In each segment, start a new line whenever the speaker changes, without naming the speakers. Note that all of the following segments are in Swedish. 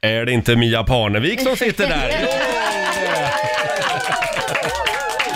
Är det inte Mia Parnevik som sitter där? Jo!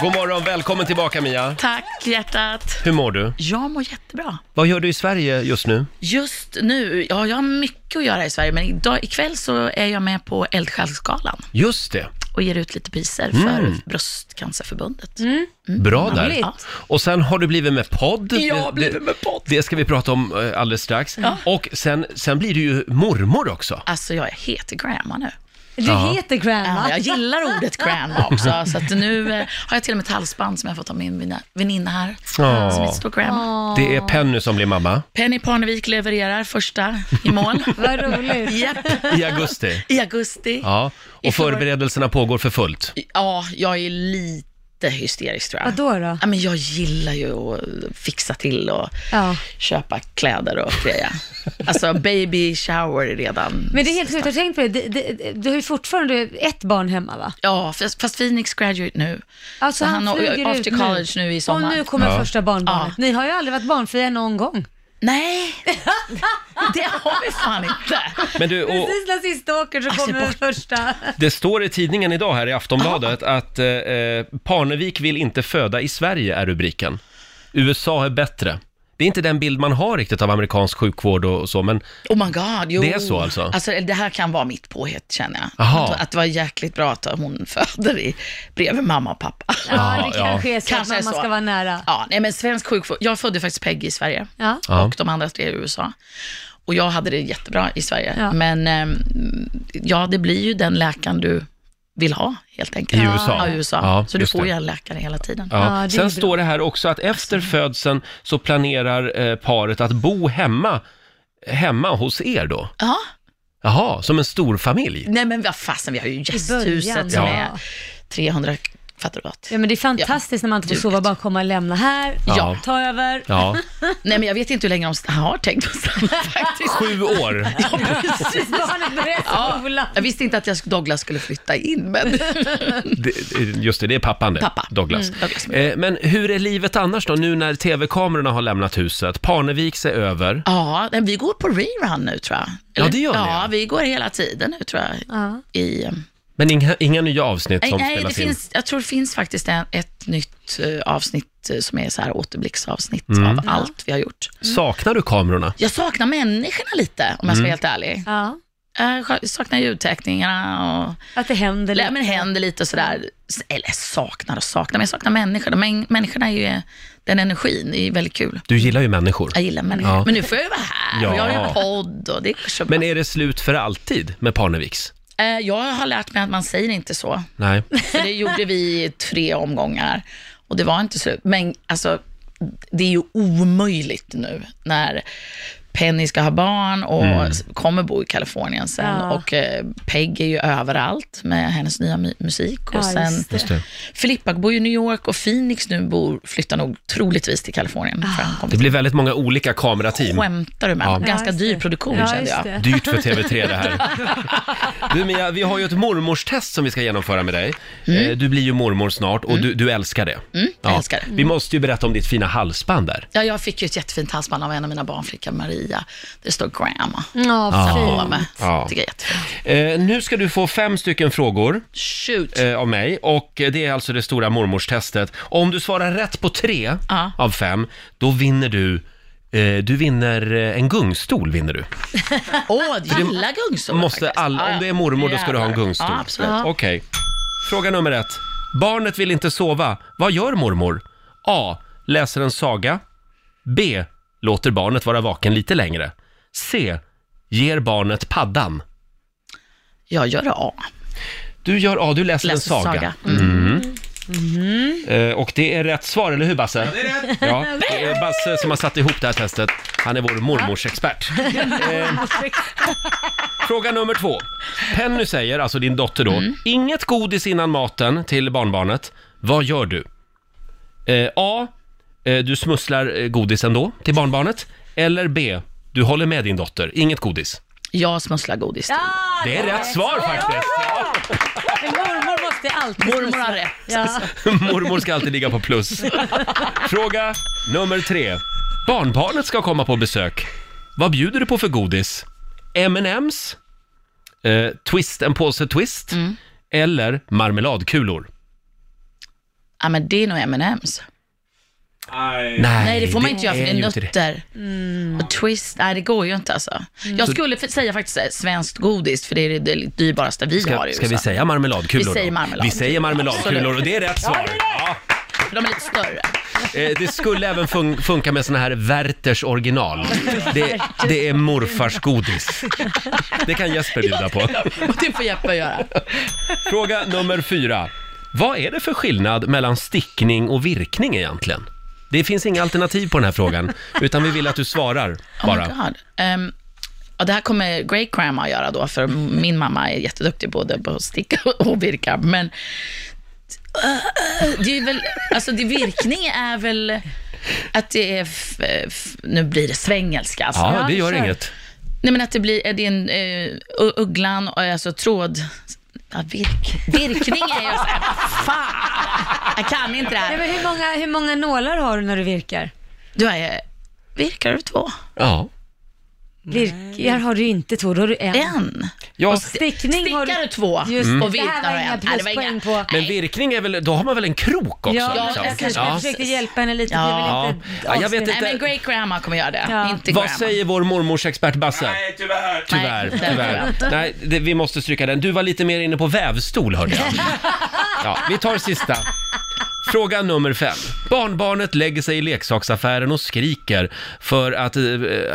God morgon, välkommen tillbaka Mia.
Tack hjärtat.
Hur mår du?
Jag mår jättebra.
Vad gör du i Sverige just nu?
Just nu, ja jag har mycket att göra i Sverige, men idag, ikväll så är jag med på Eldsjälsgalan
Just det,
och ger ut lite priser
Mm.
för Bröstcancerförbundet.
bra där.
Mm. Ja.
Och sen har du blivit med podd.
Jag har
Det-
blivit
det-
med podd.
Det ska vi prata om eh, alldeles strax. Och sen, sen blir du ju mormor också.
Alltså jag heter grandma nu.
Du
Ja.
heter grandma.
Ja, jag gillar ordet grandma också, så att nu eh, har jag till och med ett halsband som jag fått av min vina- väninna här,
Ja.
som heter står grandma.
Åh,
Det är Penny som blir mamma
Penny Parnevik levererar första i mål.
Vad roligt.
Japp,
i augusti.
i augusti.
Ja, och förberedelserna pågår för fullt.
Ja, jag är lite hysterisk tror jag.
Vadå då?
Ja, men jag gillar ju att fixa till och
Ja.
köpa kläder och grejer. Alltså baby shower är redan.
Men det är helt sjukt, jag har tänkt på det. det, det du har ju fortfarande ett barn hemma va?
Ja, fast fast Phoenix graduate nu.
Alltså
Så han
flyger
är off
ut
to college nu, i sommar.
Och nu kommer
Ja.
första barnbarnet.
Ja.
Ni har ju aldrig varit barnfria någon gång.
Nej, det har vi fan inte.
Men du, och,
Precis när sista åker så
Alltså,
kommer den första.
Det står i tidningen idag här i Aftonbladet att eh, eh, Parnevik vill inte föda i Sverige är rubriken. USA är bättre. Det är inte den bild man har riktigt av amerikansk sjukvård och och så, men
Oh my god, jo.
Det är så alltså?
Det här kan vara mitt påhitt känner jag.
Aha.
Att, att det var jäkligt bra att hon föder i, bredvid mamma och pappa.
Ja, det
ja.
kanske är så
Kanske är
att mamma
så.
ska vara nära.
Ja, nej men svensk sjukvård. Jag födde faktiskt Peggy i Sverige
Ja.
Ja.
och de andra tre i USA. Och jag hade det jättebra i Sverige.
Ja.
Men ehm, ja, det blir ju den läkaren du vill ha helt
i
enkelt.
USA.
Ja, i USA.
Ja,
så du
just
får
det.
ju en läkare hela tiden.
Ja.
Ja, det är
Sen
bra.
står det här också att efter födseln så planerar eh, paret att bo hemma, hemma hos er då.
Ja.
Jaha, som en stor familj.
Nej men vad fasen, vi har ju
början,
gästhuset som
ja.
är 300 kvadrat.
Ja men det är fantastiskt när man inte får
Du
sova,
vet.
bara komma och lämna här,
Ja.
ta över.
Ja,
Nej men jag vet inte hur länge de st- har tänkt att stanna faktiskt.
sju år.
Ja, precis.
Tills barnet börjar
Ja,
skolan.
jag visste inte att jag, Douglas skulle flytta in, men
Det- Just det, det är pappan det,
Pappa.
Douglas.
Mm, Douglas.
Eh, Men hur är livet annars då, nu när tv-kamerorna har lämnat huset? Parneviks är över.
Ja, men vi går på rerun nu tror jag.
Ja, det gör ni, ja.
Ja, vi går hela tiden nu tror jag.
Ja.
I, eh,
Men inga, inga nya avsnitt som
nej, det
spelas in?
finns, jag tror det finns faktiskt en, ett nytt eh, avsnitt eh, som är så här återblicksavsnitt
Mm.
av allt vi har gjort.
Saknar du kamerorna?
Jag saknar människorna lite, om
Mm.
jag ska vara helt ärlig.
Ja,
Jag saknar ljudteckningarna och
att det händer
Nej, men händer lite och sådär. S- Eller saknar och saknar, men jag saknar människorna. Men, människorna är ju, eh, den energin är väldigt kul.
Du gillar ju människor.
Jag gillar människor.
Ja.
Men nu får jag ju vara här och jag har ju
Ja.
en podd och det är så bra.
Men är det slut för alltid med Parneviks?
Eh, Jag har lärt mig att man säger inte så.
Nej.
För det gjorde vi i tre omgångar och det var inte slut. Men alltså, det är ju omöjligt nu när Penny ska ha barn och
Mm.
kommer bo i Kalifornien sen.
Ja.
Och eh, Peg är ju överallt med hennes nya mu- musik. Och
Ja,
sen
just
Just det.
Filippa bor ju i New York och Phoenix nu bor, flyttar nog troligtvis till Kalifornien.
Ah.
För han
Det
kommer
blir väldigt många olika kamerateam.
Skämtar du med
Ja.
mig? Ganska
Ja, just
dyr
det.
produktion
Ja,
kände
just
jag.
det.
Dyrt för TV3 det här. Du Mia, vi har ju ett mormorstest som vi ska genomföra med dig. Eh, Du blir ju mormor snart och du, du älskar det.
Mm. jag älskar det.
Vi måste ju berätta om ditt fina halsband där.
Ja, jag fick ju ett jättefint halsband av en av mina barnflickor, Maria. Det står grandma.
Ja,
Hålla
fint.
med.
Ja.
Tycker jag är jättefint.
Eh, nu ska du få fem stycken frågor
Shoot.
eh, av mig och eh, det är alltså det stora mormorstestet. Om du svarar rätt på tre
Ja.
av fem, då vinner du eh, du vinner eh, en gungstol. vinner du.
Oh, Åh, jag gillar gungstol
Måste
faktiskt.
all,
Ja, ja.
om du är mormor då ska du ha en
Ah, Jävlar.
gungstol.
Ja, absolut.
Okej. Fråga nummer ett. Barnet vill inte sova. Vad gör mormor? A. Läser en saga. B. Låter barnet vara vaken lite längre. C. Ger barnet paddan.
Jag gör det A.
Du gör A, du läser,
Läser
en saga. Mm.
saga. Mm.
Eh, och det är rätt svar, eller hur Basse? Ja, det är rätt! Ja, det är Basse som har satt ihop det här testet. Han är vår mormorsexpert. Eh, Fråga nummer två. Penny säger, alltså din dotter då, inget godis innan maten till barnbarnet. Vad gör du? Eh, A. Eh, du smusslar eh, godis ändå till barnbarnet. Eller B. Du håller med din dotter, inget godis.
Jag smusslar godis.
Ja,
Det är rätt svar faktiskt!
Men mormor måste alltid
Mormor har
smussla.
rätt.
Ja.
Mormor ska alltid ligga på plus. Fråga nummer tre. Barnbarnet ska komma på besök. Vad bjuder du på för godis? M&M's, eh, twist, en påse twist
Mm.
eller marmeladkulor?
Ja, men det är nog M&M's.
Nej,
Nej, det får man inte göra för det är
ju inte
nötter. Och twist, nej det går ju inte alltså.
Mm.
Jag skulle f- säga faktiskt eh, svenskt godis, för det är det- det dyrbaraste vi har i
Ska, ska vi
USA.
säga marmeladkulor?
Vi säger
då?
marmeladkulor,
Vi säger marmeladkulor och det är rätt svar. Ja,
För de är lite större.
Eh, det skulle även fun- funka med såna här Werthers original. Det, det är morfars godis. Det kan Jesper bjuda på.
Och det får Jeppe göra.
Fråga nummer fyra. Vad är det för skillnad mellan stickning och virkning egentligen? Det finns inga alternativ på den här frågan, utan vi vill att du svarar
Oh my
bara.
God. Ehm, ja, det här kommer great grandma göra då, för min mamma är jätteduktig både på att sticka och virka. Men eh, det är väl, alltså det virkning är väl att det är, f, f, nu blir det svengelska alltså.
Ja, det gör
kör.
inget.
Nej men att det blir, är det en eh, u- ugglan, och alltså tråd, ja, virk, virkning är ju såhär, fan, jag kan inte det
Nej,
här.
men hur, många, hur många nålar har du när du virkar?
Du är, virkar du två?
Ja.
Virkar har du inte två, då har du en.
En?
ja.
Stickning har
Stickar du
du...
två Mm.
Just det,
och
det här
virknar
var inga
en? Nej, det var
pluspoäng
inga-
på.
Men virkning är väl, då har man väl en krok också?
Ja,
liksom?
jag kanske
Ja.
försökte hjälpa henne lite. Det
Ja.
är väl inte
Ja, jag vet
avsnitt.
Nej, men great grandma kommer göra det,
Ja.
inte grandma.
Vad säger vår mormors expert Basse?
Nej, tyvärr.
Tyvärr,
Nej,
tyvärr. Nej, det, vi måste stryka den. Du var lite mer inne på vävstol hörde jag. Ja, vi tar sista. Fråga nummer fem. Barnbarnet lägger sig i leksaksaffären och skriker för att eh,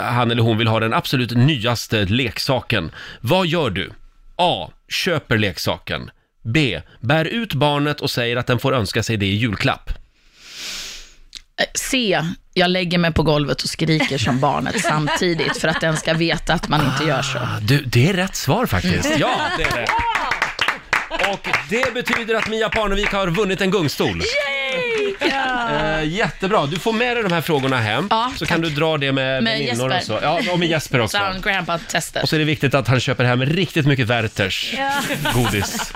han eller hon vill ha den absolut nyaste leksaken. Vad gör du? A. Köper leksaken. B. Bär ut barnet och säger att den får önska sig det i julklapp.
C. Eh, Jag lägger mig på golvet och skriker som barnet samtidigt för att den ska veta att man inte gör så.
Ah, Du, det är rätt svar faktiskt. Ja, det är det. Och det betyder att Mia Parnevik har vunnit en gungstol. Eh, jättebra, du får med dig de här frågorna hem.
Ja,
så
tack.
kan du dra det med
Med
väninnor och så.
Jesper.
Ja, och med Jesper också.
Sound grandpa testet.
Och så är det viktigt att han köper hem riktigt mycket Werthers godis.